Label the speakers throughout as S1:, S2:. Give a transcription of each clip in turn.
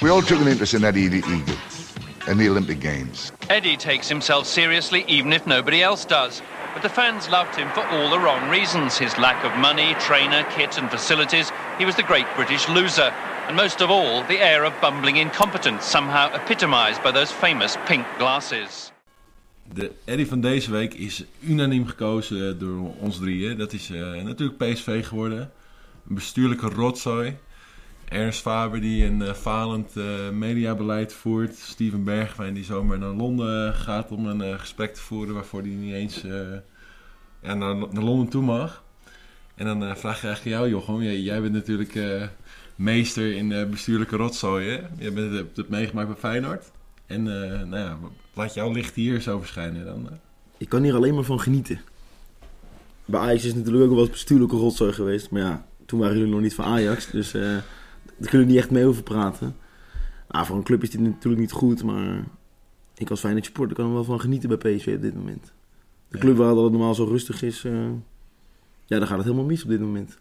S1: We all took an interest in that E Eddie Eagle and the Olympic Games.
S2: Eddie takes himself seriously even if nobody else does. But the fans loved him for all the wrong reasons his lack of money, trainer, kit, and facilities. He was the great British loser. And most of all, the air of bumbling incompetence, somehow epitomised by those famous pink glasses.
S3: De Eddie van deze week is unaniem gekozen door ons drieën. Dat is eh, natuurlijk PSV geworden. Een bestuurlijke rotzooi. Ernst Faber die een eh, falend eh, mediabeleid voert. Steven Bergwijn die zomaar naar Londen gaat om een eh, gesprek te voeren waarvoor hij niet eens eh, ja, naar, naar Londen toe mag. En dan eh, vraag je eigenlijk jou, Jochem. Jij, jij bent natuurlijk eh, meester in eh, bestuurlijke rotzooien. Je bent, hebt het meegemaakt bij Feyenoord. En eh, nou ja, laat jouw licht hier zo verschijnen dan. eh.
S4: Ik kan hier alleen maar van genieten. Bij Ajax is het natuurlijk ook wel eens bestuurlijke rotzooi geweest. Maar ja, toen waren jullie nog niet van Ajax. Dus eh daar kunnen we niet echt mee over praten. Nou, voor een club is dit natuurlijk niet goed. Maar ik als Feyenoord supporter kan er wel van genieten bij PSV op dit moment. De club waar dat normaal zo rustig is. eh, ja, daar gaat het helemaal mis op dit moment.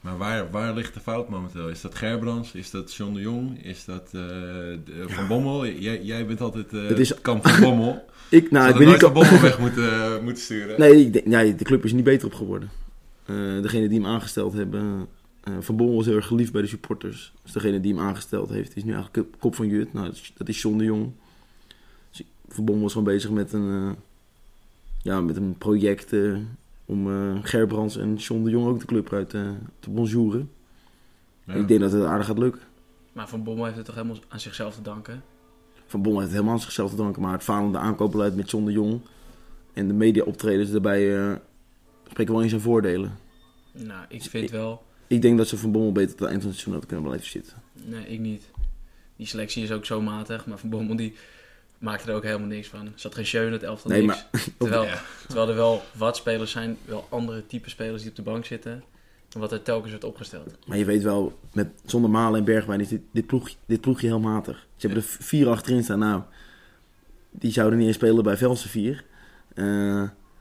S3: Maar waar, waar ligt de fout momenteel? Is dat Gerbrands? Is dat John de Jong? Is dat eh, de- Van Bommel? Jij, jij bent altijd eh,
S4: Het is-
S3: het kamp van Bommel.
S4: Ik, nou,
S3: Zou
S4: ik
S3: ik
S4: ben niet...
S3: Van
S4: kap-
S3: Bommel weg moeten, eh, moeten sturen?
S4: Nee, ik denk, nee, de club is niet beter op geworden. Eh, degene die hem aangesteld hebben... eh, van Bommel was heel erg geliefd bij de supporters. Dus degene die hem aangesteld heeft, is nu eigenlijk kop- kop van Jut. Nou, dat is- dat is John de Jong. Dus van Bommel was gewoon bezig met een, eh, ja, met een project... eh, om eh, Gerbrands en John de Jong ook de club uit eh, te bonjouren.
S3: Ja.
S4: Ik denk dat het aardig gaat lukken.
S5: Maar Van Bommel heeft het toch helemaal aan zichzelf te danken?
S4: Van Bommel heeft het helemaal aan zichzelf te danken. Maar het falende aankoopbeleid met John de Jong... en de mediaoptredens daarbij eh, spreken wel in zijn voordelen.
S5: Nou, ik vind wel...
S4: Ik denk dat ze Van Bommel beter tot het eind van het seizoen hadden kunnen blijven zitten.
S5: Nee, ik niet. Die selectie is ook zo matig, maar Van Bommel die maakte er ook helemaal niks van. Er zat geen show in het elftal,
S4: Nee,
S5: niks. Terwijl,
S3: Ja.
S5: terwijl er wel wat spelers zijn, wel andere type spelers die op de bank zitten, dan wat er telkens wordt opgesteld.
S4: Maar je weet wel, met, zonder Malen en Bergwijn is dit, dit, ploeg, dit ploegje heel matig. Ze hebben er v- vier achterin staan. Nou, die zouden niet eens spelen bij Velse vier. Eh,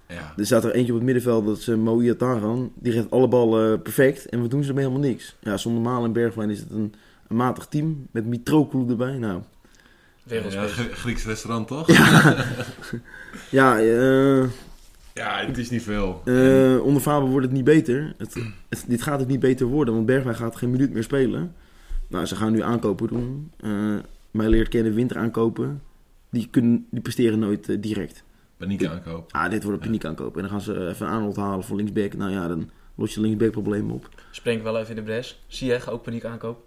S3: Ja.
S4: er staat er eentje op het middenveld, dat is eh, Mo Iataren. Die geeft alle ballen eh, perfect en we doen ze ermee helemaal niks. Ja, zonder Malen en Bergwijn is het een, een matig team. Met Mitrokoulou erbij. Nou,
S3: Ja,
S5: Wereldspelers.
S3: Grie- Grieks restaurant toch?
S4: ja, eh,
S3: Ja, het is niet veel.
S4: Eh, onder Faber wordt het niet beter. Het, het- dit gaat het niet beter worden, want Bergwijn gaat geen minuut meer spelen. Nou, ze gaan nu aankopen doen. Eh mij leert kennen winter aankopen. Die, kunnen, die presteren nooit eh, direct.
S3: Paniek aankoop.
S4: Ah, dit wordt een paniek aankopen. En dan gaan ze eh, even een aanhold halen voor linksback. Nou ja, dan los je linksback probleem op.
S5: Spring wel even in de bres. Ziyech, ook paniek aankoop.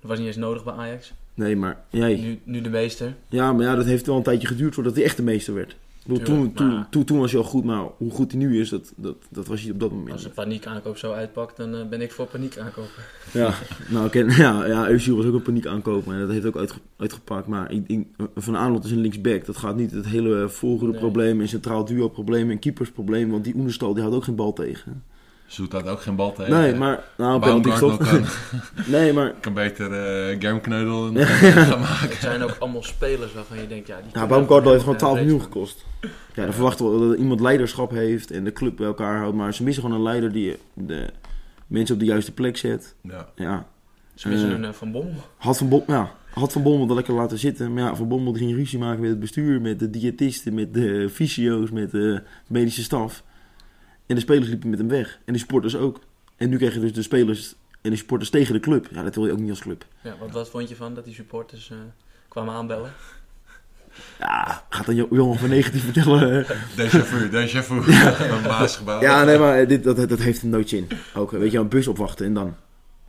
S5: Dat was niet eens nodig bij Ajax.
S4: Nee, maar jij.
S5: Nu, nu de meester.
S4: Ja, maar ja, dat heeft wel een tijdje geduurd voordat hij echt de meester werd. Ik bedoel, toen,
S5: Tuurlijk, maar-
S4: toen, toen, toen was hij al goed, maar hoe goed hij nu is, dat, dat, dat was hij op dat moment.
S5: Als een paniek aankoop zo uitpakt, dan eh, ben ik voor paniek aankopen.
S4: Ja, nou, oké, ja, ja Özil was ook een paniek aankopen en dat heeft ook uitge- uitgepakt. Maar ik, ik- Van Aanholt is een linksback. Dat gaat niet het hele volgende
S5: Nee.
S4: probleem en centraal duo probleem en keepersprobleem. Want die Oenestal die had ook geen bal tegen.
S3: Zoet had ook geen bal tegen.
S4: nee, maar... Nou, penalty
S3: Baumgartner
S4: stop. nee, maar...
S3: kan beter eh Germkneudel een- gaan maken.
S5: Het zijn ook allemaal spelers waarvan je denkt, ja... Die
S4: Ja,
S5: kunnen
S4: Baumgartel heeft
S5: helemaal
S4: gewoon 12 miljoen
S5: geen
S4: gekost. Ja, dan verwachten we dat iemand leiderschap heeft en de club bij elkaar houdt. Maar ze missen gewoon een leider die de mensen op de juiste plek zet.
S3: Ja.
S4: Ja,
S5: prijs. Ze missen
S4: Eh.
S5: een eh, Van Bommel.
S4: Had Van, Bom, ja, had van Bommel dat lekker laten zitten. Maar ja, Van Bommel ging ruzie maken met het bestuur, met de diëtisten, met de fysio's, met de medische staf. En de spelers liepen met hem weg. En de supporters ook. En nu krijg je dus de spelers en de supporters tegen de club. Ja, dat wil je ook niet als club.
S5: Ja, wat, wat vond je van dat die supporters eh, kwamen aanbellen?
S4: Ja, gaat dan jo- jongen van 19 vertellen. eh,
S3: Déjà vu, déjà vu. Een baasgebouw.
S4: Ja, nee, maar eh, dit, dat, dat heeft een nootje in. Ook, eh, weet je, een bus opwachten en dan.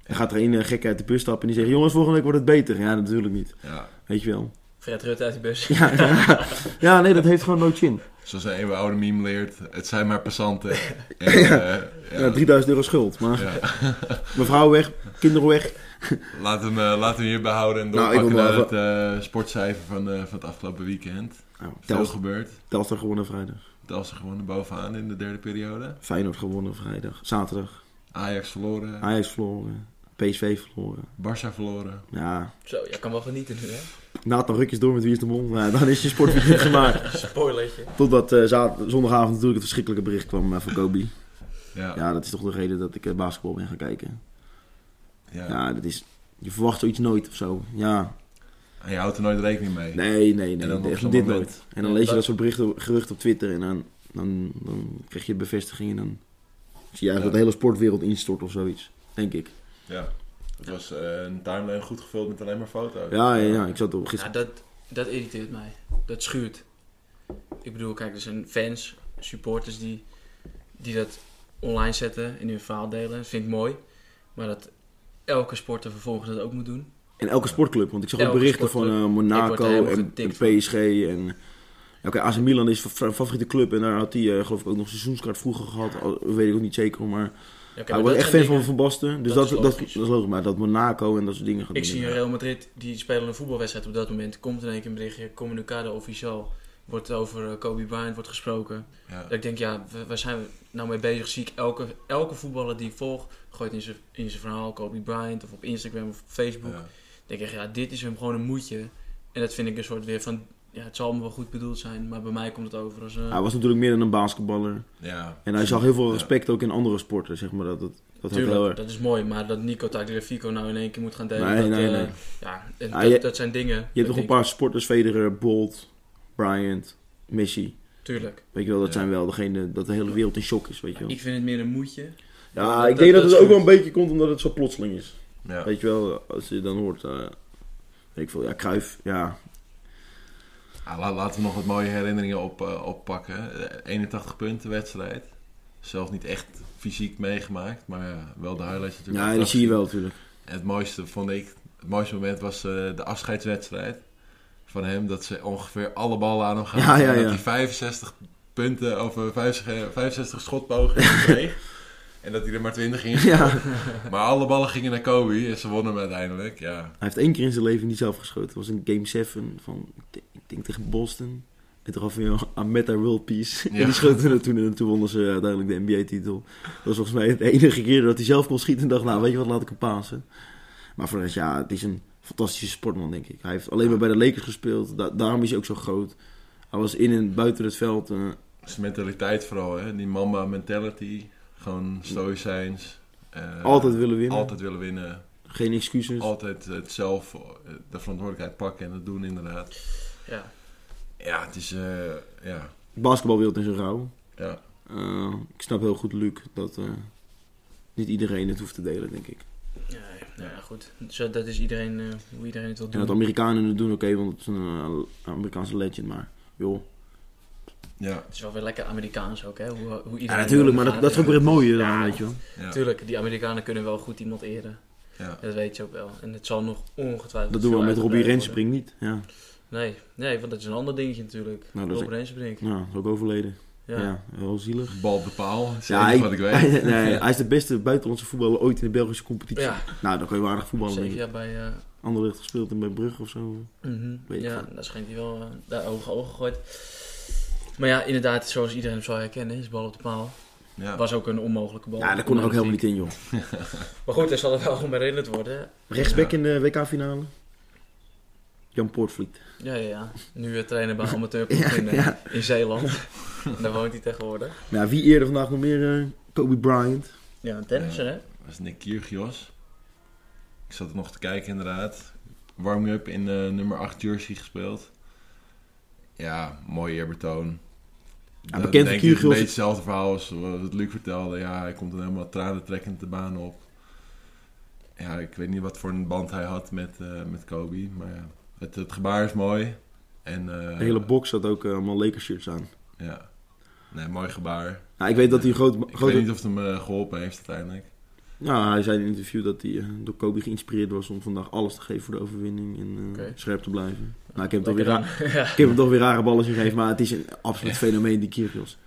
S4: Dan gaat er een eh, gek uit de bus stappen en die zegt... Jongens, volgende week wordt het beter. Ja, natuurlijk niet.
S3: Ja,
S4: Weet je wel.
S5: Fred Rutte uit die bus.
S4: Ja, ja. ja nee, dat heeft gewoon een nootje in.
S3: zoals een eeuwenoude meme leert. Het zijn maar passanten. En, eh, ja,
S4: Ja, 3000 euro schuld. Maar
S3: Ja.
S4: mevrouw weg, kinderen weg.
S3: Laat hem, eh, laat hem hierbij houden en
S4: Nou, ik
S3: doorpakken
S4: wil
S3: naar
S4: nog
S3: het eh, sportcijfer van, eh, van het afgelopen weekend.
S4: Nou,
S3: Veel
S4: Telstar
S3: gebeurd.
S4: Telstar gewonnen vrijdag.
S3: Telstar gewonnen bovenaan in de derde periode.
S4: Feyenoord gewonnen vrijdag. Zaterdag.
S3: Ajax verloren.
S4: Ajax verloren. PSV verloren.
S3: Barça verloren.
S4: Ja.
S5: Zo, jij kan wel genieten nu, hè?
S4: Nathan Rukjes door met Wie is de Mol. Nou, dan is je sportweekend gemaakt.
S5: Spoilertje.
S4: Totdat eh, za- zondagavond natuurlijk het verschrikkelijke bericht kwam eh, van Kobe.
S3: Ja.
S4: Ja, dat is toch de reden dat ik eh, basketbal ben gaan kijken.
S3: ja.
S4: Ja, dat is Je verwacht zoiets nooit of zo. Ja,
S3: En je houdt er nooit rekening mee.
S4: nee, nee,
S3: En
S4: nee.
S3: dan op
S4: echt
S3: zo'n
S4: dit
S3: moment.
S4: nooit. En dan
S5: Ja,
S4: lees je
S5: dat-
S4: dat soort berichten, geruchten op Twitter en dan, dan, dan krijg je bevestiging en dan zie je eigenlijk
S3: Ja.
S4: dat de hele sportwereld instort of zoiets. Denk ik.
S3: Ja. Het was eh, een timeline goed gevuld met alleen maar foto's.
S4: Ja, ja, ja. Ik zat op
S5: Ja,
S4: gisteren.
S5: dat, dat irriteert mij. Dat schuurt. Ik bedoel, kijk, er zijn fans, supporters die, die dat online zetten en hun verhaal delen. Dat vind ik mooi. Maar dat elke sporter vervolgens dat ook moet doen.
S4: En elke sportclub, want ik zag ook
S5: Elke
S4: berichten van
S5: sportclub.
S4: eh,
S5: Ik word
S4: Monaco
S5: er helemaal
S4: en, en
S5: getikt van.
S4: PSG. En, Oké, AC Milan is fa- fa- favoriete club en daar had hij eh, geloof ik ook nog een seizoenskaart vroeger gehad. Al- weet ik ook niet zeker, maar
S5: Ja, oké,
S4: hij
S5: maar
S4: was
S5: dat
S4: echt fan
S5: zijn
S4: van
S5: dingen-
S4: Van Basten. Dus
S5: dat
S4: dat,
S5: is
S4: dat, dat,
S5: logisch.
S4: is logisch, maar dat Monaco en dat soort dingen gaat
S5: Ik zie een
S4: doen.
S5: Real Madrid, die spelen een voetbalwedstrijd op dat moment. Komt in één keer een berichtje, communicado official. Wordt over eh, Kobe Bryant wordt gesproken.
S3: Ja.
S5: Dat ik denk, ja, wa- waar zijn we nou mee bezig? Zie ik elke, elke voetballer die ik volg, gooit in zijn in zijn verhaal Kobe Bryant of op Instagram of op Facebook.
S3: Ja.
S5: denk ik, ja, dit is hem gewoon een moedje. En dat vind ik een soort weer van, ja, het zal me wel goed bedoeld zijn, maar bij mij komt het over als eh, een...
S4: Hij was natuurlijk meer dan een basketballer.
S3: Ja.
S4: En hij zag heel veel respect ook in andere sporten, zeg maar. Dat, dat, dat had heel
S5: Tuurlijk,
S4: erg.
S5: dat is mooi, maar dat Nico Tagliafico nou in één keer moet gaan delen.
S4: Nee,
S5: dat,
S4: nee,
S5: eh,
S4: nee.
S5: Ja, en
S4: Ah,
S5: dat,
S4: je-
S5: dat zijn dingen.
S4: Je hebt toch een
S5: dat
S4: paar sporters, Federer, Bolt, Bryant, Messi.
S5: ik- Tuurlijk.
S4: Weet je wel, dat
S3: Ja.
S4: zijn wel degene dat de hele wereld in shock is, weet je wel.
S5: Ik vind het meer een moedje.
S4: Ja,
S5: dat-
S4: ik denk
S5: dat
S4: dat het
S5: is
S4: ook
S5: goed.
S4: wel een beetje komt omdat het zo plotseling is.
S3: Ja.
S4: Weet je wel, als je dan hoort, eh, weet ik veel, ja, Kruif, ja.
S3: Ah, la- laten we nog wat mooie herinneringen op, eh, oppakken. Eh, 81 punten wedstrijd. Zelf niet echt fysiek meegemaakt, maar ja, wel de highlights natuurlijk.
S4: Ja,
S3: achteraf
S4: dat zie je
S3: gezien.
S4: wel natuurlijk.
S3: En het mooiste vond ik, het mooiste moment was eh, de afscheidswedstrijd van hem. Dat ze ongeveer alle ballen aan hem gaan.
S4: Ja, ja,
S3: en
S4: ja.
S3: dat hij 65 punten of eh, 65, 65 schotpogingen kreeg. En dat hij er maar 20 in.
S4: Ja, hij
S3: Maar alle ballen gingen naar Kobe en ze wonnen hem uiteindelijk. Ja,
S4: heeft één keer in zijn leven niet zelf geschoten. Dat was in Game 7 van, ik denk- ik denk tegen Boston. En toen gaf hij hem aan Meta World Peace.
S3: Ja.
S4: En die schoten er toen en toen wonnen ze uiteindelijk de NBA-titel. Dat was volgens mij de enige keer dat hij zelf kon schieten. En dacht, nou, weet je wat, laat ik hem pasen. Maar voor de rest, ja, het is een fantastische sportman, denk ik. Hij heeft alleen maar bij de Lakers gespeeld. Da- daarom is hij ook zo groot. Hij was in en buiten het veld. eh,
S3: zijn mentaliteit vooral, hè? die mama mentality. Gewoon stoïcijns. eh,
S4: altijd willen winnen. Dus-
S3: Altijd willen winnen.
S4: Geen excuses.
S3: Altijd het zelf, eh, de verantwoordelijkheid pakken en dat doen inderdaad.
S5: Ja.
S3: Ja, het is... eh, ja,
S4: Basketbalwereld is een rouw.
S3: ja.
S4: Eh, ik snap heel goed, Luc, dat eh, niet iedereen het hoeft te delen, denk ik.
S5: Ja, nou ja, goed. Zo, dat is iedereen, eh, hoe iedereen het wil
S4: En
S5: doen.
S4: dat Amerikanen het doen, oké, want het is een eh, Amerikaanse legend, maar joh.
S3: ja.
S5: Het is wel weer lekker Amerikaans ook, hè. Hoe, hoe
S4: Ja,
S5: iedereen
S4: natuurlijk, maar dat, dat is ook weer het mooie dan,
S5: Ja.
S4: weet je wel.
S3: Ja,
S5: Natuurlijk, die Amerikanen kunnen wel goed iemand eren.
S3: ja.
S5: Dat weet je ook wel. En het zal nog ongetwijfeld...
S4: Dat doen we
S5: veel
S4: met Robbie
S5: uitgebreid
S4: Renspring
S5: worden.
S4: niet. Ja,
S5: Nee, nee, want dat is een ander dingetje natuurlijk.
S4: Nou, dat is-
S5: Rob Rensenbrink.
S4: nou, dat is ook overleden.
S5: Ja.
S4: Ja, wel zielig.
S3: Bal op de paal, is
S4: Ja,
S3: het enige
S4: hij-
S3: wat ik weet.
S4: nee, hij is de beste buitenlandse voetballer ooit in de Belgische competitie.
S5: Ja.
S4: Nou, dan kan je wel aardig voetballen, denk
S5: Zeven
S4: ik.
S5: jaar bij... eh,
S4: Anderlecht gespeeld en bij Brugge of zo.
S5: mhm,
S4: Weet ik
S5: ja,
S4: veel.
S5: daar schijnt hij wel eh, daar hoge ogen gegooid. Maar ja, inderdaad, zoals iedereen hem zou herkennen, is bal op de paal.
S3: Ja.
S5: Was ook een onmogelijke bal.
S4: Ja, daar kon er ook helemaal niet in, joh.
S5: Maar goed, daar zal het wel gewoon bij redelijk worden.
S4: Rechtsback in de WK-finale. Jan Poortvliet.
S5: Ja, ja, ja. Nu weer trainen bij amateurploeg in, eh,
S4: ja.
S5: in Zeeland. En daar woont hij tegenwoordig.
S4: Nou, wie eerder vandaag nog meer? eh, Kobe Bryant.
S5: Ja, een tennisser, hè?
S3: was Nick Kyrgios. Ik zat er nog te kijken inderdaad. Warming-up in eh, nummer 8 jersey gespeeld. Ja, mooi eerbetoon. Dan
S4: bekend
S3: denk
S4: voor
S3: ik
S4: Kyrgios-
S3: Een beetje hetzelfde verhaal als wat Luc vertelde. Ja, hij komt dan helemaal tranentrekkend de baan op. Ja, ik weet niet wat voor een band hij had met, eh, met Kobe. Maar ja, het, het gebaar is mooi. En, eh,
S4: De hele box had ook eh, allemaal Lakers shirts aan.
S3: Ja. Nee, mooi gebaar.
S4: Nou, ik weet dat hij een groot...
S3: Ik
S4: grote-
S3: weet niet of het hem eh, geholpen heeft uiteindelijk.
S4: Nou, hij zei in een interview dat hij eh, door Kobe geïnspireerd was om vandaag alles te geven voor de overwinning en eh,
S5: Oké.
S4: scherp te blijven. Nou, ik heb, hem toch weer
S5: Lekker
S4: raar-
S5: dan. ja.
S4: ik heb hem toch weer rare ballen gegeven, maar het is een absoluut fenomeen, die Kyrgios.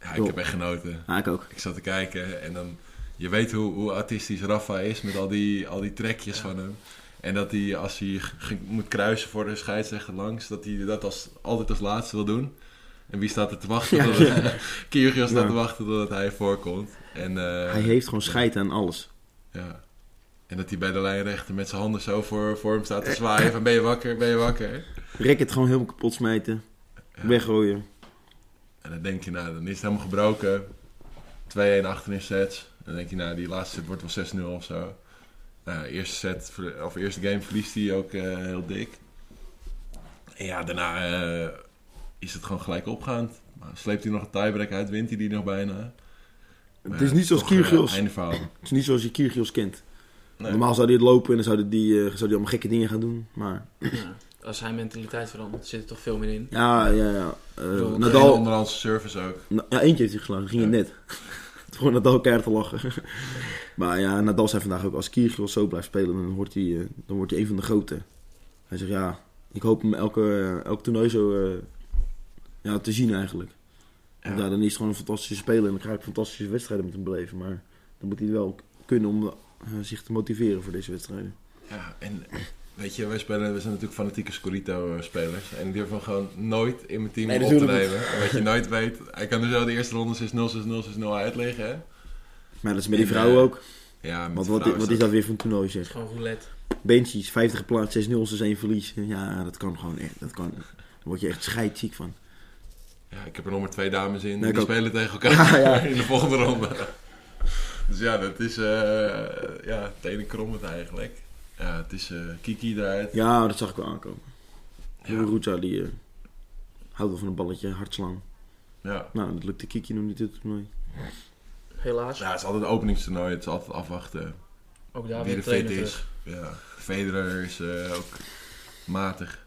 S3: Ja, ik
S4: Klopt.
S3: heb echt genoten.
S4: Ja, ik ook.
S3: Ik zat te kijken en dan... Je weet hoe, hoe artistisch Rafa is met al die, al die trekjes van hem. En dat hij, als hij g- g- moet kruisen voor de scheidsrechter langs... dat hij dat als, altijd als laatste wil doen. En wie staat er te wachten?
S4: Ja,
S3: tot
S4: ja.
S3: Kyrgios staat
S4: Ja.
S3: te wachten totdat hij voorkomt. En, eh,
S4: Hij heeft gewoon scheid aan alles.
S3: ja. en dat hij bij de lijnrechter met zijn handen zo voor, voor hem staat te zwaaien van... ben je wakker, ben je wakker?
S4: Racket gewoon helemaal kapot smijten, weggooien.
S3: En dan denk je, nou, dan is het helemaal gebroken. 2-1 achter in sets. Dan denk je, nou, die laatste set wordt wel 6-0 of zo. Nou, eerste set, ver- of eerste game verliest hij ook eh, heel dik. En ja, daarna eh, is het gewoon gelijk opgaand. Maar sleept hij nog een tiebreak uit, wint hij die nog bijna. Maar
S4: Het is
S3: ja,
S4: niet zoals
S3: toch, eh,
S4: Kyrgios.
S3: Einde verhaal.
S4: Het is niet zoals je Kyrgios kent.
S3: Nee.
S4: Normaal zou hij het lopen en dan zou hij, die, eh, zou hij allemaal gekke dingen gaan doen. Maar
S5: Ja, als hij mentaliteit verandert, zit er toch veel meer in.
S4: ja, ja, ja. Eh,
S5: bedoel,
S3: Nadal.
S4: Nadal,
S3: onderhandse service ook.
S4: Na- Nou, ja, eentje heeft hij geslagen. Ging het net. Gewoon Nadal keihard te lachen. maar ja, Nadal zei vandaag ook, als Kyrgios zo blijft spelen, dan wordt hij, eh, dan wordt hij een van de grote. Hij zegt, ja, ik hoop hem elke, eh, elk toernooi zo eh, ja, te zien eigenlijk. Want ja, dan is het gewoon een fantastische speler en dan ga ik fantastische wedstrijden met hem beleven. Maar dan moet hij wel k- kunnen om eh, zich te motiveren voor deze wedstrijden.
S3: Ja, en weet je, wij, spelen, wij zijn natuurlijk fanatieke Scorito-spelers. En ik durf hem gewoon nooit in mijn team
S4: Nee,
S3: op te
S4: natuurlijk niet.
S3: nemen. Omdat je nooit weet. Hij kan er zo de eerste ronde 6-0, 6-0, 6-0 uitleggen. hè?
S4: Maar dat is met die
S3: En,
S4: vrouwen
S3: eh,
S4: ook.
S3: Ja, met
S4: Want
S3: de
S4: wat,
S3: vrouwen
S4: wat is dat weer voor een toernooi zeg?
S5: Gewoon roulette.
S4: Benchies, 50 geplaatst, 6-0, 6-1 verlies. Ja, dat kan gewoon echt. Dat kan. Daar word je echt scheidziek van.
S3: Ja, ik heb er nog maar twee dames in.
S4: Nee, ik
S3: die
S4: ook.
S3: spelen tegen elkaar
S4: Ja, ja.
S3: in de volgende ronde. Dus ja, dat is eh ja, tenen krommend eigenlijk. Ja, het is eh, Kiki eruit.
S4: Ja, dat zag ik wel aankomen.
S3: Ja.
S4: Ja. Ruta, die eh, houdt wel van een balletje, hardslang.
S3: Ja.
S4: Nou, dat lukte Kiki nog niet dit toernooi.
S5: Helaas.
S3: ja, het is altijd een openingstoernooi. Het is altijd afwachten
S5: Ook daar
S3: wie
S5: weer
S3: er
S5: de
S3: fit
S5: trainer
S3: is.
S5: terug.
S3: Ja. Federer is eh, ook matig.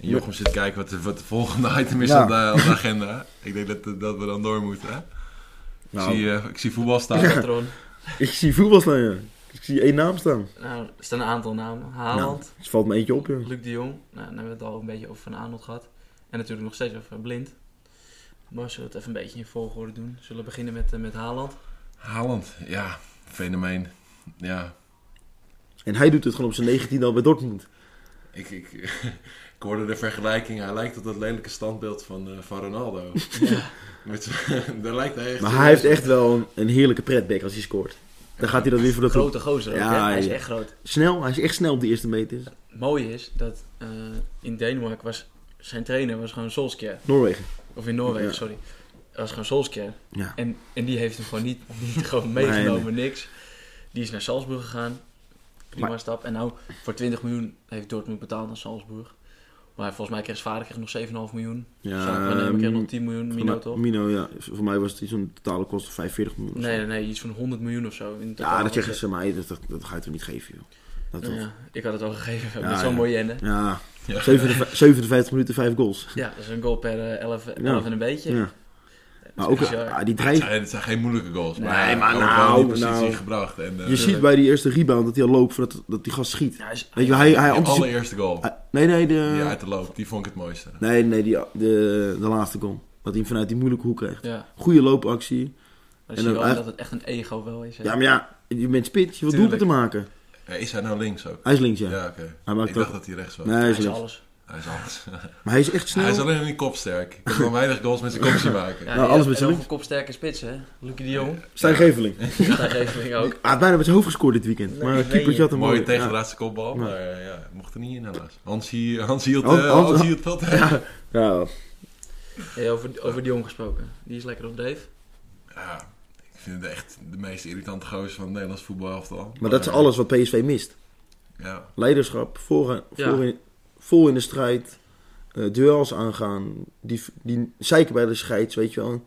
S3: En Jochem zit kijken wat de, wat de volgende item is
S4: Ja.
S3: op, de, op de agenda. Ik denk dat, dat we dan door moeten. hè?
S4: Nou.
S3: Ik, zie, eh, ik zie voetbal staan.
S5: Patron.
S4: Ik zie voetbal staan, ja. Ik zie één naam staan.
S5: Nou, er staan een aantal namen. Haaland,
S4: Dus valt me eentje op, ja.
S5: Luc de Jong. Nou, dan hebben we het al een beetje over Van Arnold gehad. En natuurlijk nog steeds over Blind. Maar zullen we het even een beetje in volgorde doen? Zullen we beginnen met, eh, met Haaland?
S3: Haaland, ja, fenomeen. Ja,
S4: En hij doet het gewoon op zijn 19 al bij Dortmund.
S3: Ik, ik, ik hoorde de vergelijking. Hij lijkt op dat lelijke standbeeld van, eh, van Ronaldo. Met z'n- daar lijkt hij echt
S4: Maar hij heeft echt wel een, een heerlijke pretback als hij scoort. Dan gaat hij dat weer voor de groep.
S5: Grote gozer ook,
S4: Ja,
S5: hè? Hij is
S4: ja.
S5: echt groot.
S4: Snel, hij is echt snel op de eerste dus. meters.
S5: Het mooie is dat eh, in Denemarken was zijn trainer was gewoon Solskjaer.
S4: Noorwegen.
S5: Of in Noorwegen,
S4: Ja.
S5: sorry. Dat was gewoon Solskjaer.
S4: Ja.
S5: En, en die heeft hem gewoon niet, niet gewoon meegenomen, niks. Die is naar Salzburg gegaan. Prima
S4: Maar-
S5: stap. En nou, voor 20 miljoen heeft Dortmund betaald aan Salzburg. Maar volgens mij kreeg zijn vader kreeg nog 7,5 miljoen.
S4: Ja,
S5: Van hem kreeg nog
S4: mm,
S5: 10 miljoen,
S4: voor
S5: Mino
S4: mij-
S5: toch?
S4: Mino, ja. Voor mij was het iets van totale kosten 45 miljoen. of zo.
S5: Nee, nee, nee, iets van 100 miljoen of zo. In totaal.
S4: Ja, dat zeggen ze, maar hey, dat, dat, dat ga je toch niet geven, joh. Dat, dat-
S5: Ja, ik had het al gegeven
S4: Ja,
S5: met zo'n
S4: ja.
S5: mooie ende.
S4: Ja,
S3: Ja.
S4: 57, 57 minuten, 5 goals.
S5: Ja, dat is een goal per eh, 11, 11 en een beetje.
S4: Ja. Maar ook,
S5: bizar.
S4: ah, die
S3: Het
S4: dreig...
S3: zijn, het zijn geen moeilijke goals.
S4: Nee, maar
S3: hij wordt
S4: nou,
S3: wel in die positie
S4: nou.
S3: gebracht. En, eh,
S4: Je ziet bij die eerste rebound dat hij al loopt voordat dat die gast schiet.
S5: Ja, hij is-
S4: Weet je wel, hij, hij
S3: de
S4: anticipeert...
S3: allereerste goal
S4: Nee, nee, de,
S3: die uit de loop, die vond ik het mooiste.
S4: nee, nee die, de, de laatste goal. Dat hij hem vanuit die moeilijke hoek krijgt.
S5: Ja,
S4: Goede loopactie.
S5: maar dan
S4: En
S5: zie je
S4: dan
S5: wel
S4: echt-
S5: dat het echt een ego wel is. hè.
S4: Ja, maar ja, je bent spits, je wilt
S5: Tuurlijk.
S4: doelpunten te maken.
S3: Eh, Is hij nou links ook?
S4: Hij is links, ja.
S3: Ja, oké.
S4: Hij maakt
S3: Ik dacht
S4: ook-
S3: dat hij rechts was.
S4: Nee, hij
S5: hij
S4: is
S5: is
S4: links.
S5: alles.
S3: Hij is alles.
S4: Maar hij is echt snel.
S3: Hij is alleen nog niet kopsterk. Ik kan wel weinig goals met zijn kop zien maken.
S5: Ja,
S4: Nou, alles
S5: en
S4: met zijn
S5: ook
S4: links.
S5: een kopsterke spits, hè? Lucky de Jong.
S4: Stijn Geveling.
S5: Daar geef ik ook.
S4: Hij had bijna met zijn hoofd gescoord dit weekend.
S5: Nee,
S4: maar een
S5: ik
S4: keepertje
S5: weet
S4: had hem
S3: Mooie
S4: mooi.
S3: tegen de
S4: ja.
S3: laatste kopbal, maar eh, ja, mocht er niet in helaas. Hans, hier- Hans hield
S4: Hans-
S3: eh,
S4: Hans-
S3: Hans hield dat. Ja.
S4: Ja,
S5: Hey, over, over de jong gesproken. Die is lekker op dreef.
S3: ik vind het echt de meest irritante gozer van het Nederlands voetbalelftal.
S4: maar dat is alles wat PSV mist.
S3: Ja,
S4: leiderschap, voor,
S5: Ja.
S4: voor in, vol in de strijd, eh, duels aangaan, die, die zeiken bij de scheids, weet je wel.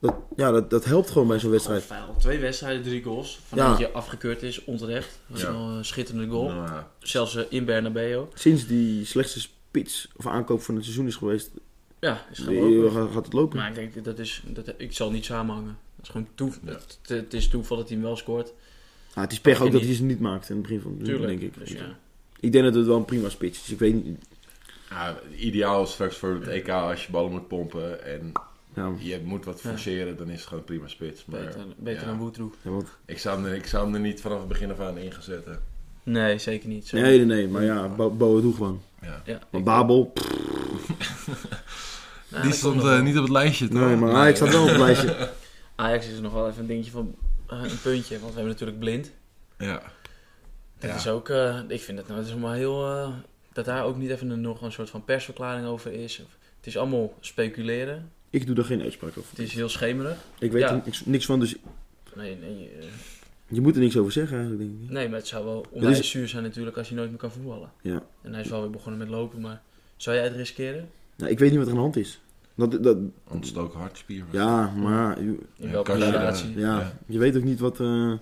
S4: Dat, ja, dat, dat helpt gewoon bij zo'n wedstrijd.
S5: Feil. Twee wedstrijden, drie goals. Van
S4: Ja.
S5: dat je afgekeurd is, onterecht. Dat is
S3: Ja.
S5: wel een schitterende goal.
S3: Nou, ja.
S5: Zelfs eh, in Bernabeu.
S4: Sinds die slechtste spits of aankoop van het seizoen is geweest,
S5: Ja, is gewoon
S4: die- eh, gaat, gaat het lopen.
S5: Maar ik denk, dat is, dat, ik zal niet samenhangen. Dat is gewoon toe,
S3: Ja.
S5: het, het is toeval dat hij hem wel scoort.
S4: Ah, het is pech
S5: Pak je
S4: ook dat
S5: niet.
S4: hij ze niet maakt in het begin van het seizoen,
S5: Tuurlijk.
S4: denk ik.
S5: Dus ja.
S4: Ik denk dat het wel een prima spits is. Ik weet niet.
S3: Ja, ideaal straks voor het EK als je ballen moet pompen en
S4: Ja,
S3: je moet wat forceren, dan is het gewoon prima spits. Maar
S5: Beter, beter
S3: ja,
S5: dan Woetroe.
S4: ja, want,
S3: ik, zou hem er, ik zou hem er niet vanaf het begin af aan in gaan zetten.
S5: Nee, zeker niet. Zo. Nou,
S4: nee, nee, nee, maar ja, Bo- Boa doe gewoon.
S3: Ja.
S5: Ja,
S4: Maar Babel, pff,
S5: nou,
S3: Die
S5: dat komt
S3: stond
S5: nog wel.
S3: eh, niet op het lijstje, toch?
S4: nee, maar Ajax staat wel op het lijstje.
S5: Ajax is nog wel even een dingetje van eh, een puntje. Want we hebben natuurlijk blind.
S3: Ja.
S5: Dat
S3: Ja.
S5: is ook, eh, ik vind dat nou, het is maar heel, eh, dat daar ook niet even een, nog een soort van persverklaring over is. Of- Het is allemaal speculeren.
S4: Ik doe daar geen uitspraak over.
S5: Het is heel schemerig.
S4: Ik weet
S5: Ja.
S4: er niks, niks van, dus
S5: Nee, nee, eh,
S4: Je moet er niks over zeggen eigenlijk, denk ik.
S5: Nee, maar het zou wel
S4: Het
S5: onwijs
S4: is-
S5: zuur zijn natuurlijk als je nooit meer kan voetballen.
S4: Ja.
S5: En hij is wel weer begonnen met lopen, maar zou jij het riskeren?
S4: Nou, ik weet niet wat er aan de hand is. Dat, dat,
S3: Ontstoken hartspier.
S4: ja, maar je,
S5: In
S3: Ja,
S5: welke
S3: kan je daar-
S5: situatie?
S4: ja,
S3: Ja.
S4: je weet ook niet wat... eh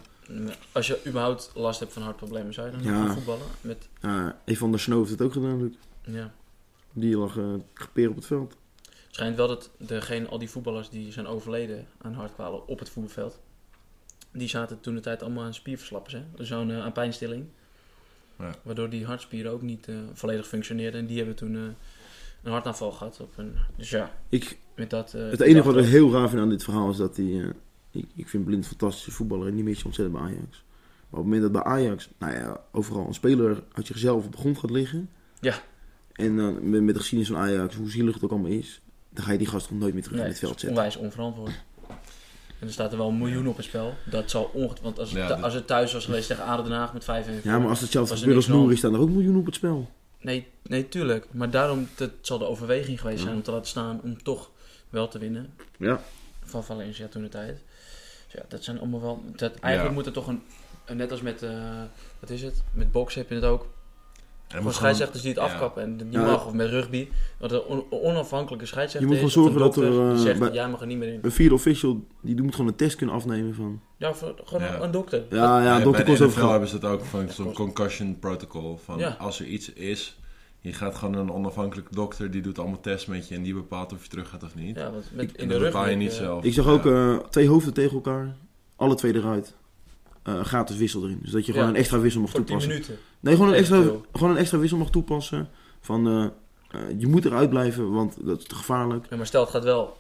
S5: Als je überhaupt last hebt van hartproblemen, zou je dan
S4: Ja.
S5: gaan voetballen? Met,
S4: ah, Evander Snow heeft het ook gedaan natuurlijk.
S5: ja.
S4: Die lag eh gepeerd op het veld.
S5: Schijnt wel dat degene, al die voetballers die zijn overleden aan hartkwalen op het voetbalveld, die zaten toen de tijd allemaal aan spierverslappers, hè? Zo'n eh, aan pijnstilling.
S3: Ja.
S5: Waardoor die hartspieren ook niet eh, volledig functioneerden. En die hebben toen eh, een hartaanval gehad. Op een, dus ja,
S4: Ik,
S5: met dat... eh,
S4: het enige wat ik
S5: dacht-
S4: heel raar vind aan dit verhaal is dat hij... eh, ik, ik vind Blind een fantastische voetballer en die mis je ontzettend bij Ajax. Maar op het moment dat bij Ajax, nou ja, overal een speler uit zichzelf op de grond gaat liggen.
S5: Ja.
S4: En dan met, met de geschiedenis van Ajax, hoe zielig het ook allemaal is. Dan ga je die gast gewoon nooit meer terug
S5: Nee,
S4: in het veld
S5: het is
S4: zetten.
S5: onwijs onverantwoord. En er staat er wel een miljoen op het spel. Dat zal ongetwijfeld... Want als, het
S3: Ja,
S5: thu-
S3: dat-
S5: als het thuis was geweest tegen Aden Den Haag met 5-1...
S4: Ja, maar als hetzelfde
S5: Was er
S4: gebeurt als
S5: niks aan.
S4: Nouri, staan er ook miljoenen op het spel.
S5: Nee, nee, tuurlijk. Maar daarom dat zal de overweging geweest zijn om te laten staan om toch wel te winnen.
S4: Ja.
S5: Van Valencia toen de tijd. Dus ja, dat zijn allemaal wel. Dat, eigenlijk
S3: Ja.
S5: moet er toch een, een- Net als met. eh, wat is het? Met boksen heb je het ook. Gewoon scheidsrechters die het
S3: ja.
S5: afkappen en dat niet
S4: Ja.
S5: mag. Of met rugby. Want een on- onafhankelijke scheidsrechter.
S4: Je moet
S5: is,
S4: gewoon
S5: of een
S4: zorgen dat er,
S5: dokter die
S4: eh,
S5: zegt,
S4: bij-
S5: jij mag er niet meer in.
S4: Een vierde official, die moet gewoon een test kunnen afnemen van...
S5: Ja, voor, gewoon
S3: Ja.
S5: een dokter.
S4: Ja, Nou ja,
S3: Ja,
S4: dokter
S3: bij
S4: kost
S3: de NFL
S4: overgaan.
S3: hebben ze het ook van zo'n concussion protocol. Van
S5: Ja.
S3: als er iets is, je gaat gewoon naar een onafhankelijke dokter, die doet allemaal tests met je en die bepaalt of je terug gaat of niet.
S5: Ja, want met,
S3: en
S5: in de
S3: dat
S5: rugby.
S3: bepaal je niet
S5: eh,
S3: zelf.
S4: Ik zag ook
S3: Ja.
S4: eh, twee hoofden tegen elkaar. Alle twee eruit. Eh gratis wissel erin. Dus dat je gewoon
S5: Ja.
S4: een extra wissel mag
S5: Voor 10
S4: toepassen.
S5: minuten.
S4: Nee, gewoon een,
S5: Echt
S4: extra,
S5: veel.
S4: gewoon een extra wissel mag toepassen. Van eh, eh, je moet eruit blijven, want dat is te gevaarlijk.
S5: Ja, maar stel het gaat wel.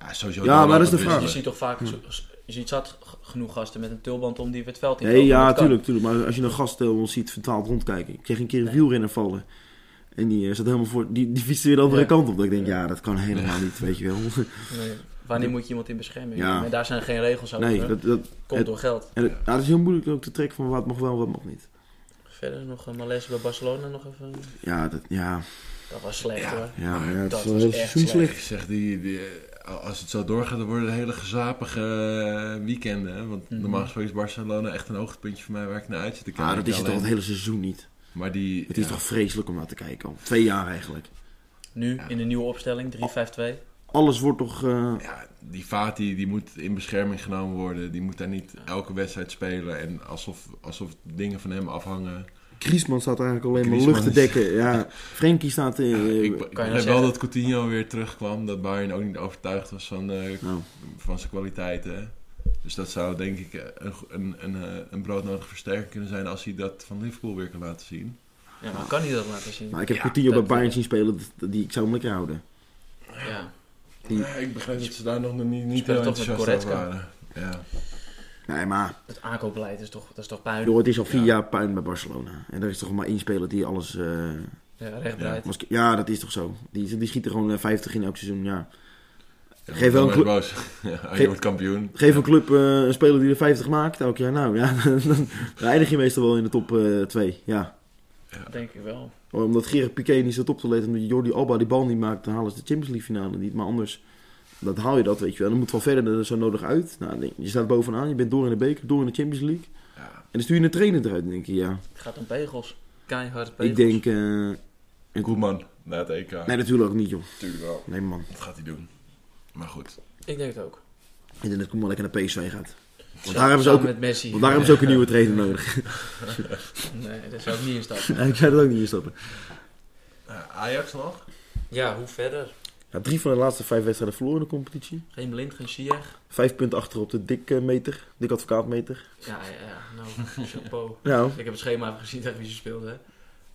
S3: Ja, sowieso
S4: eh, Ja,
S3: door
S4: maar dat is
S3: laten
S4: de
S5: Je
S4: vraag.
S3: wisselen.
S5: ziet toch vaak, zo- je ziet zat g- genoeg gasten met een tulband om die het veld in.
S4: Nee,
S5: komen,
S4: ja,
S5: dat kan.
S4: tuurlijk, tuurlijk. Maar als je een gast eh, ons ziet vertaald rondkijken. Ik kreeg een keer een wielrenner vallen. En die eh, zat helemaal voor... Die, die fietste weer de andere
S5: Ja.
S4: kant op. Dat ik denk, ja, dat kan helemaal niet, weet je wel.
S5: Nee, wanneer moet je iemand in beschermen?
S4: Ja.
S5: Maar daar zijn geen regels over.
S4: Nee, dat... dat
S5: Komt
S4: het-
S5: door geld.
S4: en het, ja, het is heel moeilijk ook te trekken van wat mag wel en wat mag niet.
S5: Verder nog een Malaise bij Barcelona nog even.
S4: Ja, dat, ja,
S5: Dat was slecht hoor.
S4: ja, ja het
S5: Dat
S4: is wel
S5: was
S4: heel
S5: echt
S4: seizoen
S5: slecht.
S4: slecht.
S3: Ik zeg, die, die, eh, als het zo doorgaat, dan worden het hele gezapige eh, weekenden. hè.
S5: Mhm.
S3: Want normaal gesproken is Barcelona echt een hoogtepuntje voor mij waar ik naar uit zit te kijken.
S4: Maar Ah, dat is het toch
S3: Alleen-
S4: het hele seizoen niet.
S3: Maar die...
S4: Het is
S3: ja.
S4: toch vreselijk om naar te kijken al. Twee jaar eigenlijk.
S5: Nu in de nieuwe opstelling 3-5-2.
S4: Alles wordt toch... eh,
S3: Ja, die Fati die moet in bescherming genomen worden. Die moet daar niet elke wedstrijd spelen. En alsof, alsof dingen van hem afhangen.
S4: Griezmann staat eigenlijk alleen maar lucht
S3: Griezmann
S4: te
S3: is-
S4: dekken. Ja, Frenkie staat... eh,
S3: Ik, ik
S5: nou
S3: begreep wel
S5: zeggen?
S3: dat Coutinho weer terugkwam. Dat Bayern ook niet overtuigd was van, eh,
S4: Nou.
S3: van zijn kwaliteiten. Dus dat zou denk ik eh, een, go- een, een, eh, een broodnodige versterking kunnen zijn... als hij dat van Liverpool weer kan laten zien.
S5: Ja, maar kan hij dat laten zien?
S4: Maar ik heb
S3: Ja,
S4: Coutinho bij
S5: dat-
S4: Bayern zien spelen, dat- die ik zou hem lekker houden.
S5: Ja.
S4: Die-
S3: Ja, ik begrijp dat ze daar nog niet, niet
S5: Spelen
S3: heel
S5: toch met
S3: enthousiast over
S5: Goretzka?
S3: waren. Ja.
S4: Nee, maar
S5: Het aankoopbeleid is toch, dat is toch puin.
S4: joh, het is al vier jaar puin bij Barcelona. En er is toch maar één speler die alles... eh,
S5: Ja, rechtbreid.
S4: was- ja, dat is toch zo. Die, die schiet er gewoon eh, 50 in elk seizoen, ja.
S3: Ja,
S4: Geef wel
S3: dan
S4: een
S3: werd boos. Ja, je
S4: Geef-
S3: wordt kampioen.
S4: Geef een club eh, een speler die er 50 maakt elk jaar. Nou ja, dan, dan eindig je meestal wel in de top 2. ja.
S5: Denk ik wel.
S4: Omdat Gerard Piqué niet zat op te letten. Omdat Jordi Alba die bal niet maakt. Dan halen ze de Champions League finale niet. Maar anders, dat haal je dat, weet je wel. Dan moet het wel verder er zo nodig uit. Nou, dan denk je, je staat bovenaan. Je bent door in de beker, door in de Champions League.
S3: Ja.
S4: En dan stuur je een trainer eruit. Dan denk je, ja.
S5: Het gaat om pegels. Keihard
S4: Ik
S5: pegels.
S4: denk... eh,
S3: Koeman, na het EK.
S4: nee, natuurlijk ook niet, joh.
S3: natuurlijk wel.
S4: Nee, man.
S3: Dat gaat hij doen. Maar goed.
S5: Ik denk het ook.
S4: Ik denk dat Koeman lekker naar PSV gaat. Want
S5: Samen
S4: daar hebben ze ook,
S5: met Messi.
S4: want daar hebben ze ook een nieuwe trainer nodig.
S5: Nee, dat zou ik niet instappen.
S4: Ik zou dat ook niet in stappen.
S3: Eh, Ajax nog?
S5: Ja, hoe verder?
S4: Ja, drie van de laatste vijf wedstrijden verloren in de competitie.
S5: Geen blind, geen Ziyech.
S4: Vijf punten achter op de dikke meter, dik advocaatmeter.
S5: Ja, ja, ja. Nou, chapeau.
S4: Nou,
S5: Ik heb het schema even gezien tegen wie ze speelden. hè.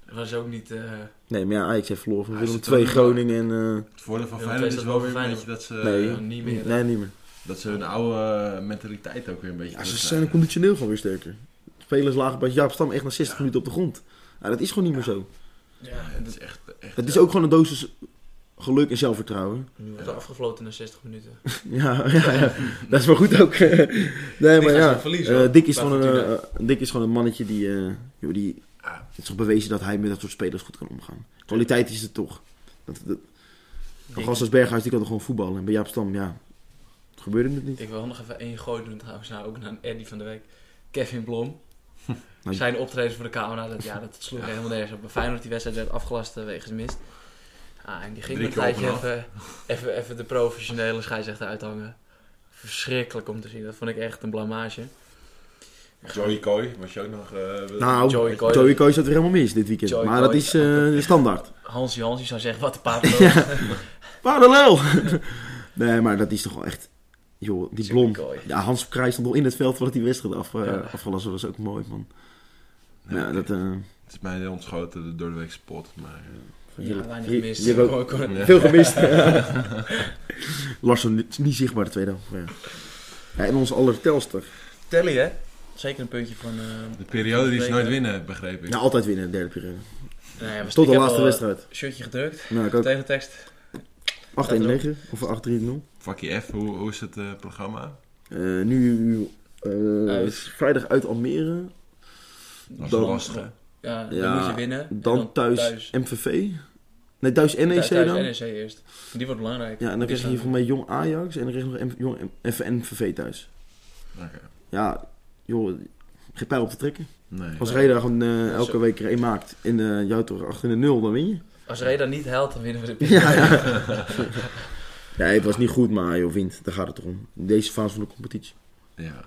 S5: Dat was ook niet... eh,
S4: nee, maar ja, Ajax heeft verloren van
S3: Hij is
S4: Willem
S3: er
S4: II,
S3: toch niet
S4: Groningen en... eh,
S3: Het voordeel van
S5: Ja,
S3: Feyenoord is
S5: dat
S3: wel
S5: wel
S3: weer een
S5: Feyenoord.
S3: beetje dat ze,
S4: nee,
S5: ja, niet meer, hè?
S4: Nee, niet meer.
S3: dat ze hun oude eh, mentaliteit ook weer een beetje
S4: Ja, ze
S3: terug
S4: zijn
S3: krijgen.
S4: conditioneel gewoon weer sterker. Spelers lagen bij Jaap Stam echt na 60 minuten op de grond. Ja, dat is gewoon niet meer zo.
S5: ja,
S3: Ja, het is echt... echt
S4: Het is ook gewoon een dosis geluk en zelfvertrouwen.
S5: nu wordt er afgefloten na 60 minuten.
S4: Ja, ja, ja. dat is wel goed ook. nee, maar
S5: gaan
S4: ja,
S5: ze verliezen, hoor,
S4: eh, Dick, is
S5: bij
S4: gewoon een,
S5: Fortuna.
S4: eh, Dick is gewoon een mannetje die, eh, joh, die...
S5: Ah.
S3: Ja.
S4: Het is toch bewezen dat hij met dat soort spelers goed kan omgaan. Kwaliteit is het toch. Dat, dat, Een gast als Berghuis, die kan toch gewoon voetballen. En bij Jaap Stam, ja, gebeurde het niet.
S5: Ik wil nog even één gooi doen trouwens, nou, ook naar een Eddie van de week. Kevin Blom.
S4: Nou,
S5: Zijn optreden voor de camera, dat, ja, dat sloeg helemaal nergens op. Bij Feyenoord die wedstrijd werd afgelast eh, wegens mist. Ah, en die ging
S3: Drie
S5: een
S3: keer op en
S5: tijdje
S3: af.
S5: even, even, even de professionele scheidsrechter uithangen. Verschrikkelijk om te zien. Dat vond ik echt een blamage.
S3: Joey Kooi was je ook nog... eh,
S4: Nou,
S5: Joey
S4: Joey
S5: Coy-
S4: Coy, zat er helemaal mis dit weekend.
S5: Joey
S4: maar
S5: Coy-
S4: dat is eh, de standaard.
S5: Hansie Hansie zou zeggen, wat een paard. Ja,
S4: Parallel! nee, maar dat is toch wel echt... Joh, die
S5: Joey
S4: blom.
S5: Coy.
S4: Ja, Hans Krij stond al in het veld voordat die wedstrijd af, eh,
S5: Ja.
S4: afgelast was. was ook mooi, man.
S3: Ja,
S4: Ja, dat... eh,
S3: Het is mij ontschoten door de week spot, maar... eh,
S4: heerlijk.
S5: weinig
S4: Je-
S5: mist.
S4: je hebt ook
S5: Kon- kon-
S3: Ja.
S4: Veel gemist. Larsson is niet zichtbaar de tweede helft. maar Ja. Ja, en onze allertelster.
S5: Telly, hè? Zeker een puntje van... eh,
S3: De periode die ze
S5: Zeker.
S3: nooit winnen, begreep ik.
S4: Ja, altijd winnen in de derde periode.
S5: nou ja, was-
S4: Tot
S5: ik
S4: de
S5: heb
S4: laatste
S5: al, eh,
S4: wedstrijd.
S5: Shirtje gedrukt.
S4: Nou, ik ook
S5: Tegentekst.
S4: 8-1-9 of 8-3-0.
S3: Vakkie F, hoe, hoe is het eh, programma?
S4: Eh, nu eh,
S5: Uit.
S4: vrijdag uit Almere.
S3: Dat is
S4: Dan-
S3: lastig, hè?
S5: Ja, dan
S4: Ja,
S5: moet je winnen. En
S4: Dan, thuis, MVV. Nee, thuis NEC
S5: thuis E
S4: dan.
S5: NEC eerst. Die wordt belangrijk.
S4: Ja, en dan krijg je hier voor mij Jong Ajax en dan krijg je nog M- Jong M- even MVV thuis.
S3: Oké.
S4: Ja, joh, geen pijl op te trekken.
S3: Nee.
S4: Als Reda gewoon eh, elke
S5: zo.
S4: week er één maakt en eh jou toch achter de nul, dan win je.
S5: Als Reda niet helpt, dan winnen we de periode.
S4: Ja, ja. nee, het was niet goed, maar joh, wint. Daar gaat het toch om. In deze fase van de competitie.
S3: Ja.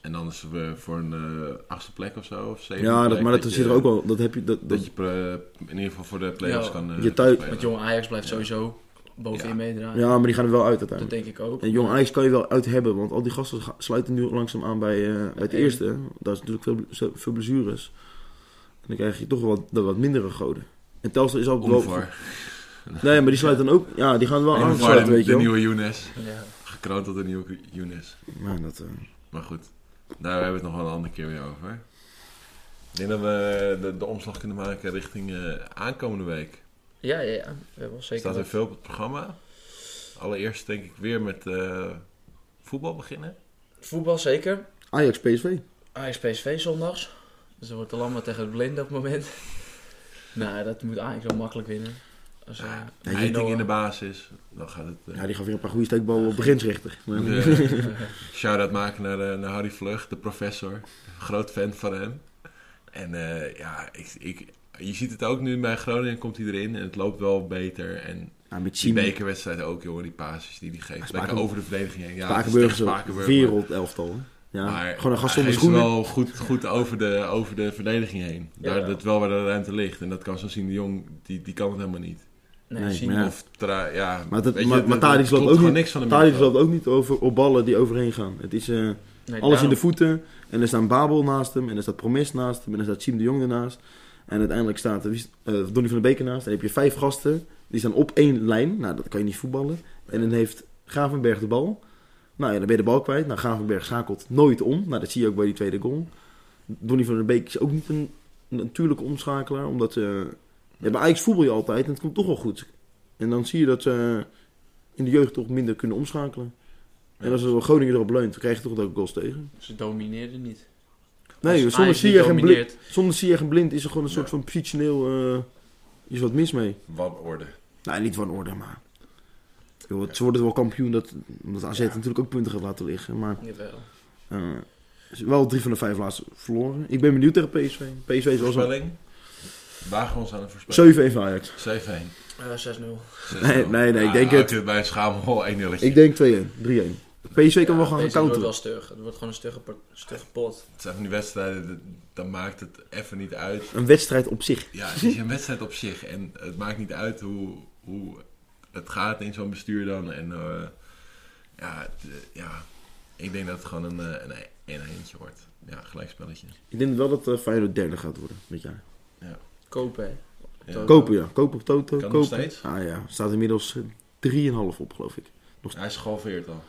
S3: En dan is we voor een eh, achtste plek of zo, of zevende
S4: ja, dat,
S3: plek,
S4: maar dat,
S3: je-
S4: zit er ook wel. Dat heb je, dat, dat,
S3: Dat je pre- in ieder geval voor de play-offs
S5: Ja.
S3: kan eh,
S4: Je thuis-
S3: spelen.
S5: Want jong Ajax blijft sowieso bovenin
S3: Ja.
S5: meedraaien.
S4: ja, maar die gaan er wel uit
S5: Dat
S4: uiteindelijk.
S5: denk ik ook.
S4: En jong Ajax kan je wel uit hebben, want al die gasten ga- sluiten nu langzaam aan bij, eh, bij het
S5: Eén.
S4: eerste. Daar is natuurlijk veel, bl- zo- veel blessures. En dan krijg je toch wel wat, de wat mindere goden. En Telstra is al
S3: Omvar.
S4: Nee, maar die sluiten dan ook. Ja, die gaan wel
S3: Omvar,
S4: aansluiten,
S3: de,
S4: Ah, weet
S3: de
S4: je wel.
S3: nieuwe Younes.
S5: Ja.
S3: Gekroond tot de nieuwe Younes.
S4: Maar dat, eh,
S3: Maar goed, daar hebben we het nog wel een andere keer weer over. Ik denk dat we de, de omslag kunnen maken richting eh, aankomende week.
S5: ja, ja, ja. We hebben wel zeker
S3: Staat er
S5: wat-
S3: veel op het programma. Allereerst denk ik weer met eh, voetbal beginnen.
S5: Voetbal zeker.
S4: Ajax PSV.
S5: Ajax PSV zondags. Dus dan wordt de lammer tegen de blinden op het moment. nou, dat moet Ajax wel makkelijk winnen. Als, eh,
S4: Ja,
S3: Heiting
S5: Noah.
S3: in de basis. Dan gaat het... eh,
S4: Ja, die gaan weer een paar goede steekballen op de grensrechter. Maar-
S3: De shout-out maken naar, eh, naar Harry Vlug, de professor. Groot fan van hem. En eh, ja, ik, ik, je ziet het ook nu bij Groningen komt hij erin en het loopt wel beter. En
S4: Ja, met
S3: die
S4: Simon.
S3: bekerwedstrijd ook, jongen, die passes die hij geeft.
S4: Spakenburg-
S3: Lekker over de verdediging heen. Ja, het is
S4: Spakenburg
S3: echt
S4: is een
S3: Spakenburg,
S4: wereldelftal. hè? Ja,
S3: maar
S4: gewoon een gast
S3: hij
S4: zonder
S3: geeft ze
S4: schoenen.
S3: wel goed, goed over, de, over de verdediging heen. Daar,
S5: Ja.
S3: Dat wel waar de ruimte ligt. En dat kan zo zien, de jong, die, die kan het helemaal niet.
S5: nee,
S4: Nee,
S5: zien
S4: maar
S5: we.
S4: Ja.
S3: Of tra- ja,
S4: Maar, dat,
S3: weet je,
S4: maar,
S3: dat-
S4: maar
S3: dat
S4: Tadic
S3: klopt
S4: loopt ook
S3: gewoon
S4: niet,
S3: niks van de
S4: Tadic
S3: middenveld.
S4: loopt ook niet over, op ballen die overheen gaan. Het is eh,
S5: Nee,
S4: alles in de
S5: daarom.
S4: voeten. En er staan Babel naast hem. En er staat Promes naast hem. En er staat Siem de Jong ernaast. En uiteindelijk staat er wie is- eh, Donny van der Beek ernaast. En dan heb je vijf gasten. Die staan op één lijn. Nou, dat kan je niet voetballen. En dan heeft Gravenberg de bal. Nou ja, dan ben je de bal kwijt. Nou, Gravenberg schakelt nooit om. Nou, dat zie je ook bij die tweede goal. Donny van der Beek is ook niet een een natuurlijke omschakelaar. Omdat ze... Ja, bij Ajax voetbal je altijd en het komt toch wel goed. En dan zie je dat ze eh, in de jeugd toch minder kunnen omschakelen. En als er Groningen erop leunt, dan krijg je toch dat ook goals tegen.
S5: Ze domineerden niet.
S4: Nee,
S5: Als
S4: zonder
S5: Ajax niet
S4: Ziyech en Blind,
S5: domineert,
S4: zonder Ziyech en Blind is er gewoon een soort
S3: Ja.
S4: van positioneel... eh, is wat mis mee.
S3: Wat orde.
S4: Nou, niet van orde, maar... Joh, het- ze worden wel kampioen dat, omdat AZ natuurlijk ook punten gaat laten liggen. Maar
S5: Jawel.
S4: eh, is wel drie van de vijf laatste verloren. Ik ben benieuwd tegen PSV. PSV is wel zo'n
S3: Voorspelling? Wagen we ons aan een voorspelling.
S4: 7-1 van Ajax.
S3: 7-1.
S5: Eh, 6-0.
S3: 6-0.
S4: Nee, nee, nee, ik
S3: Ah,
S4: denk
S3: ah,
S4: het.
S3: oké, Bij een schaamhol 1 0
S4: Ik denk 2-1, 3-1. PSV kan wel
S5: Ja,
S4: gaan
S5: deze wordt wel
S4: counteren.
S5: stug. Het wordt gewoon een stugge, par- stugge pot.
S3: Het zijn van die wedstrijden, dat- dan maakt het even niet uit.
S4: Een wedstrijd op zich.
S3: Ja, het is een wedstrijd op zich. En het maakt niet uit hoe, hoe het gaat in zo'n bestuur dan. En eh, ja, het, eh, ja, ik denk dat het gewoon een, eh, een, een eentje wordt. Ja, gelijkspelletje.
S4: Ik denk wel dat eh, Feyenoord derde gaat worden dit jaar.
S5: Kopen, hè.
S3: Ja.
S4: Kopen, ja. Kopen op Toto.
S3: Kan nog
S4: kopen.
S3: steeds?
S4: Ah ja, staat inmiddels eh, 3,5 op, geloof ik.
S3: Hij is gehalveerd al.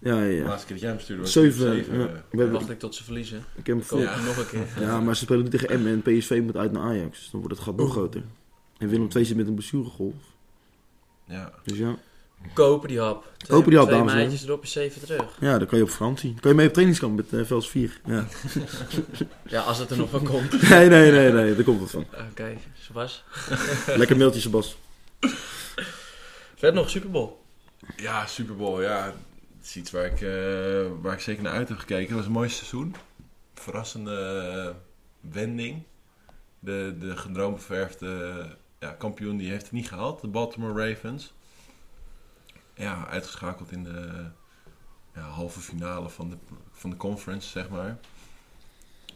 S4: Ja,
S3: De
S4: ja, ja.
S3: laatste keer dat jij hem stuurde was
S4: Zeven.
S3: het zeven,
S4: ja.
S3: eh.
S4: We hebben,
S5: Wacht ik tot ze verliezen.
S4: ik heb hem
S5: Kopen
S4: voor-
S5: nog een keer.
S4: ja, maar ze spelen nu tegen Emmen en PSV moet uit naar Ajax. Dus dan wordt het gat nog groter. En Willem II zit met een blessuregolf.
S3: Ja.
S4: Dus ja.
S5: Kopen die hap. Twee,
S4: Kopen die hap,
S5: twee
S4: dames en heren.
S5: meidjes erop is zeven terug.
S4: ja, dan kan je op vakantie. Dan kan je mee op trainingskamp met eh Vels 4. Ja.
S5: Ja, als het er nog van komt.
S4: nee, nee, nee, nee. Daar komt het van.
S5: Oké, Sebas.
S4: Lekker mailtje, Sebas.
S5: Verder nog Super Bowl.
S3: Ja, Super Bowl, ja. Het is iets waar ik, eh, waar ik zeker naar uit heb gekeken. Het was een mooi seizoen. verrassende eh, wending. De, de gedroomverfde eh, ja, kampioen die heeft het niet gehaald, de Baltimore Ravens. Ja, uitgeschakeld in de ja, halve finale van de, van de conference, zeg maar.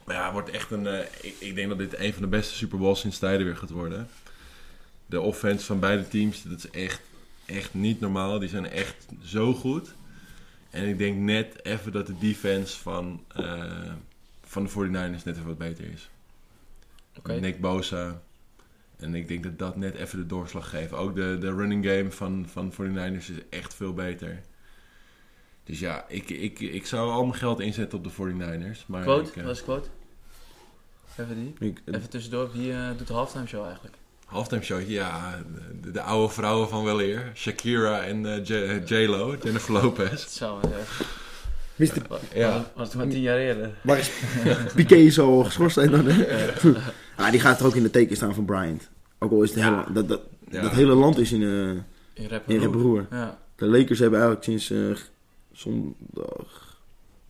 S3: Maar ja, het wordt echt een. eh, ik, ik denk dat dit een van de beste Super Bowls sinds tijden weer gaat worden. De offense van beide teams, dat is echt, echt niet normaal. Die zijn echt zo goed. En ik denk net even dat de defense van, eh, van de 49ers net even wat beter is.
S5: Oké.
S3: Nick Bosa. En ik denk dat dat net even de doorslag geeft. Ook de, de running game van, van 49ers is echt veel beter. Dus ja, ik, ik, ik zou al mijn geld inzetten op de 49ers. Maar ik,
S5: Quote,
S3: eh,
S5: was quote. Even die.
S4: Ik,
S5: Even tussendoor, wie eh, doet de halftime show eigenlijk?
S3: Halftime showtje, ja. De, de oude vrouwen van wel eer. Shakira en eh, J- J-Lo, Jennifer Lopez.
S5: Het zou eh,
S4: Mister,
S5: wat,
S3: Ja.
S5: was, was het maar
S4: Hm.
S5: tien jaar eerder.
S4: waar is Piqué is al geschorst zijn dan, hè? Ah, die gaat er ook in de teken staan van Bryant. Ook al is het hele, dat, dat,
S3: Ja.
S4: dat hele land is in, eh
S5: In rap
S4: in broer.
S5: Ja.
S4: De Lakers hebben eigenlijk sinds eh, zondag,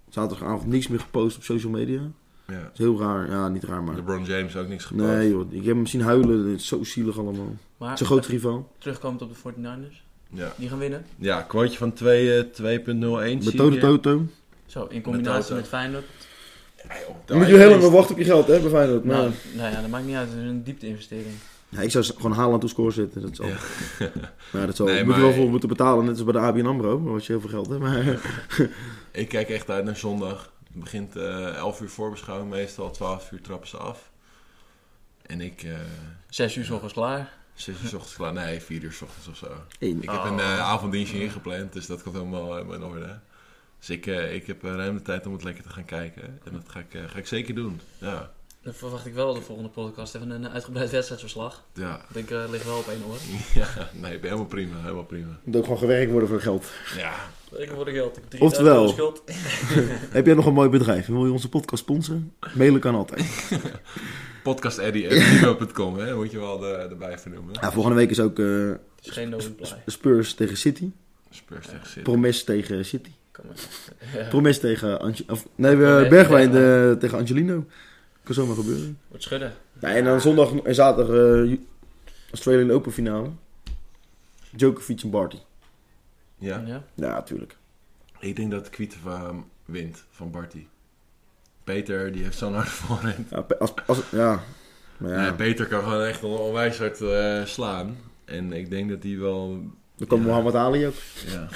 S4: zaterdagavond niks meer gepost op social media. Dat
S3: Ja.
S4: is heel raar. Ja, niet raar, maar...
S3: LeBron James ook niks gepost.
S4: Nee joh, ik heb hem zien huilen. Het is zo zielig allemaal.
S5: Maar
S4: Zijn grote rival.
S5: terugkomend op de 49ers,
S3: Ja,
S5: die gaan winnen.
S3: ja quoteje van twee, eh, 2.01. zie
S4: Methode
S3: ik
S4: Toto.
S5: Zo, in
S3: Met
S5: combinatie
S3: Toto.
S5: met Feyenoord.
S3: hier. Ja, joh,
S4: Je moet je heel lang maar wachten op je geld hè, bij Feyenoord. Maar...
S5: Nou, nou ja, dat maakt niet uit, het is een diepte investering.
S4: Nee, ik zou gewoon Haaland op score zetten. Dat zal. Ja. dat zal.
S3: Nee,
S4: je moet
S3: maar-
S4: er wel voor moeten betalen, net als bij de ABN AMRO. Dan was je heel veel geld, hè. Maar
S3: Ik kijk echt uit naar zondag. Het begint eh 11 uur voorbeschouwing meestal. 12 uur trappen ze af. En ik... eh
S5: Zes uur is nog eens klaar.
S3: 6 uur s ochtends klaar. Nee, 4 uur s ochtends of zo.
S4: één.
S3: Ik heb een eh, avonddienstje ingepland, dus dat komt helemaal, helemaal in orde. Dus ik, eh, ik heb eh, ruim de tijd om het lekker te gaan kijken. En dat ga ik, eh, ga ik zeker doen. Ja,
S5: Dan verwacht ik wel de volgende podcast even een uitgebreid wedstrijdverslag.
S3: ja.
S5: Want ik eh, lig wel op één oor.
S3: ja nee, ik ben helemaal prima. Helemaal prima.
S4: Moet ook gewoon gewerkt worden voor geld.
S3: Ja,
S5: Ik word geld. Ik heb
S4: Oftewel.
S5: 3000 schuld.
S4: Heb jij nog een mooi bedrijf? en Wil je onze podcast sponsoren? Mailen kan altijd.
S3: podcasteddie.com, hè, moet je wel er- erbij vernoemen.
S4: Ja, volgende week is ook eh,
S5: Het is geen no reply.
S4: Spurs tegen City.
S3: Spurs tegen City.
S4: Promes tegen City.
S5: Kom maar.
S4: Promes tegen... Ange- of, nee, we-
S5: Promes
S4: Bergwijn
S5: tegen-
S4: eh, tegen Angelino. Kan zomaar gebeuren.
S5: Wordt schudden.
S4: Ja, en dan zondag en zaterdag eh Australian Open finale. Djokovic en Barty.
S3: Ja,
S5: Ja.
S4: Ja, tuurlijk.
S3: ik denk dat Kvitova wint van Barty. Peter, die heeft zo'n harde voorhand.
S4: Ja, pe- als, als, ja. Maar ja,
S3: Nee, Peter kan gewoon echt een onwijs hard eh, slaan. En ik denk dat die wel
S4: dan komt
S3: ja.
S4: Mohamed Ali ook.
S3: Ja.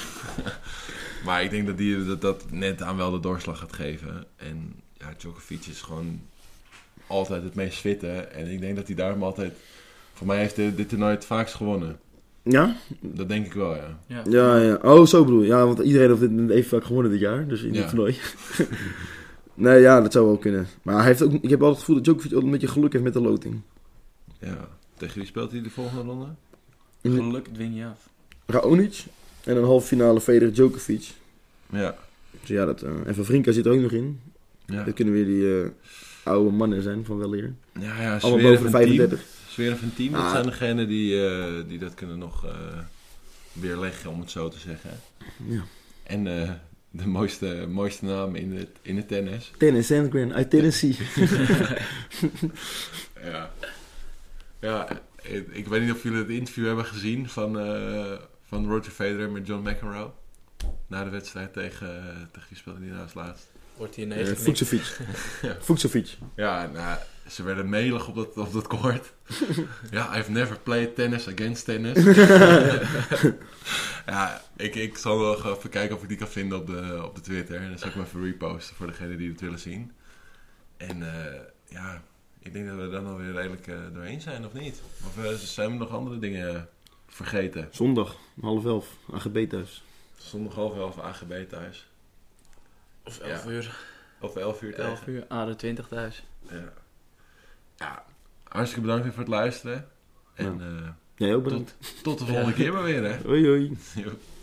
S3: maar ik denk dat die dat, dat net aan wel de doorslag gaat geven. En ja, Djokovic is gewoon altijd het meest fitte. En ik denk dat hij daarom altijd... Voor mij heeft dit, dit toernooi het vaakst gewonnen.
S4: Ja?
S3: Dat denk ik wel, ja.
S5: Ja.
S4: Ja, ja. Oh, zo bedoel je. Ja, want iedereen heeft dit even vaak gewonnen dit jaar. Dus in dit
S3: Ja.
S4: toernooi. nee, ja, dat zou wel kunnen. Maar hij heeft ook, ik heb altijd het gevoel dat Djokovic altijd een beetje geluk heeft met de loting.
S3: ja. Tegen wie speelt hij de volgende ronde?
S5: Geluk dwing je af.
S4: Raonic en een halve finale Federer Djokovic.
S3: Ja.
S4: Dus ja, dat, eh, en Van Vrinka zit er ook nog in.
S3: Ja,
S4: Dat kunnen weer die eh, oude mannen zijn van wel eer.
S3: ja, ja
S4: Allemaal
S3: Zverev
S4: boven de
S3: en Thiem.
S4: 35.
S3: Zverev en Thiem, dat
S4: Ah.
S3: zijn degenen die, eh, die dat kunnen nog eh, weerleggen, om het zo te zeggen.
S4: Ja.
S3: En eh, de mooiste, mooiste naam in het, in het tennis.
S4: Tennis Sandgren uit Tennessee.
S3: Ja. Ja, ik, ik weet niet of jullie het interview hebben gezien van, eh, van Roger Federer met John McEnroe. Na de wedstrijd tegen, eh, tegen wie speelde die nou als laatst?
S5: Wordt hier
S4: Eh,
S5: negen. gemikt.
S4: Fuxovic. Fuxovic.
S3: Ja, nou, ze werden melig op dat, op dat court. ja, I've never played tennis against tennis. ja, ik, ik zal nog even kijken of ik die kan vinden op de, op de Twitter. En dan zal ik hem even reposten voor degenen die het willen zien. En eh, ja, ik denk dat we er dan alweer redelijk eh, doorheen zijn, of niet? Of eh, zijn we nog andere dingen vergeten?
S4: Zondag, half elf, AGB thuis.
S3: Zondag half elf AGB thuis.
S5: Of 11
S3: Ja.
S5: uur.
S3: Of elf uur tegen.
S5: 11 uur. ah, ADO 20 thuis.
S3: Ja. ja, hartstikke bedankt weer voor het luisteren. En... eh,
S4: Jij ook
S3: Tot,
S4: bedankt.
S3: tot de volgende keer maar weer, hè?
S4: Hoi hoi.
S3: Joep.